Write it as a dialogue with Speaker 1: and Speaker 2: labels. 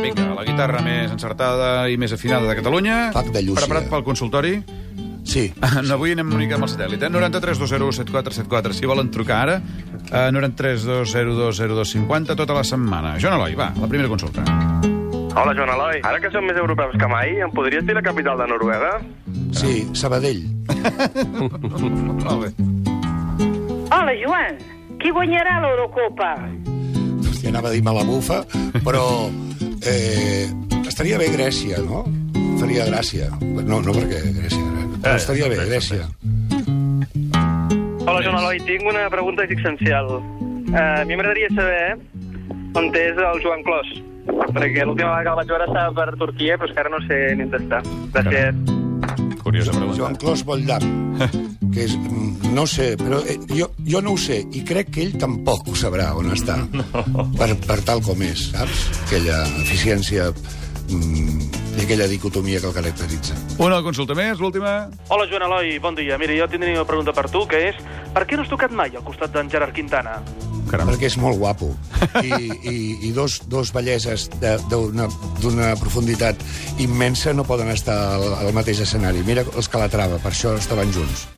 Speaker 1: guitarra més encertada i més afinada de Catalunya.
Speaker 2: Pac de Llúcia.
Speaker 1: Preparat pel consultori.
Speaker 2: Sí.
Speaker 1: No, avui anem una mica amb el satèl·lit, eh? 93 201 7474, si volen trucar ara. Eh, 93 202 0250, tota la setmana. Joan Eloi, va, la primera consulta.
Speaker 3: Hola, Joan Eloi. Ara que som més europeus que mai, em podries dir la capital de Noruega?
Speaker 2: Sí, Sabadell.
Speaker 1: Molt bé.
Speaker 4: Hola, Joan. Qui guanyarà l'Eurocopa?
Speaker 2: Hòstia, anava a dir mala bufa, però... Eh, estaria bé Grècia, no? Faria gràcia. No, no perquè Grècia... eh, Però estaria bé, Grècia.
Speaker 3: Hola, Joan Eloi. Tinc una pregunta existencial. Uh, a mi m'agradaria saber on és el Joan Clos. Perquè l'última vegada que el vaig veure estava per Turquia, però és que ara no sé ni on està. Gràcies.
Speaker 1: Curiosa pregunta.
Speaker 2: Joan Clos Bolldam, que és... mm, No sé, però eh, jo, jo no ho sé, i crec que ell tampoc ho sabrà on està, per, per tal com és, saps? Aquella eficiència mm, i aquella dicotomia que el caracteritza.
Speaker 1: Una consulta més, l'última.
Speaker 5: Hola, Joan Eloi, bon dia. Mira, jo tindria una pregunta per tu, que és... Per què no has tocat mai al costat d'en Gerard Quintana?
Speaker 1: Caram.
Speaker 2: Perquè és molt guapo. I, i, i dos, dos belleses de- d'una d'una profunditat immensa no poden estar al, al mateix escenari. Mira els Calatrava, per això estaven junts.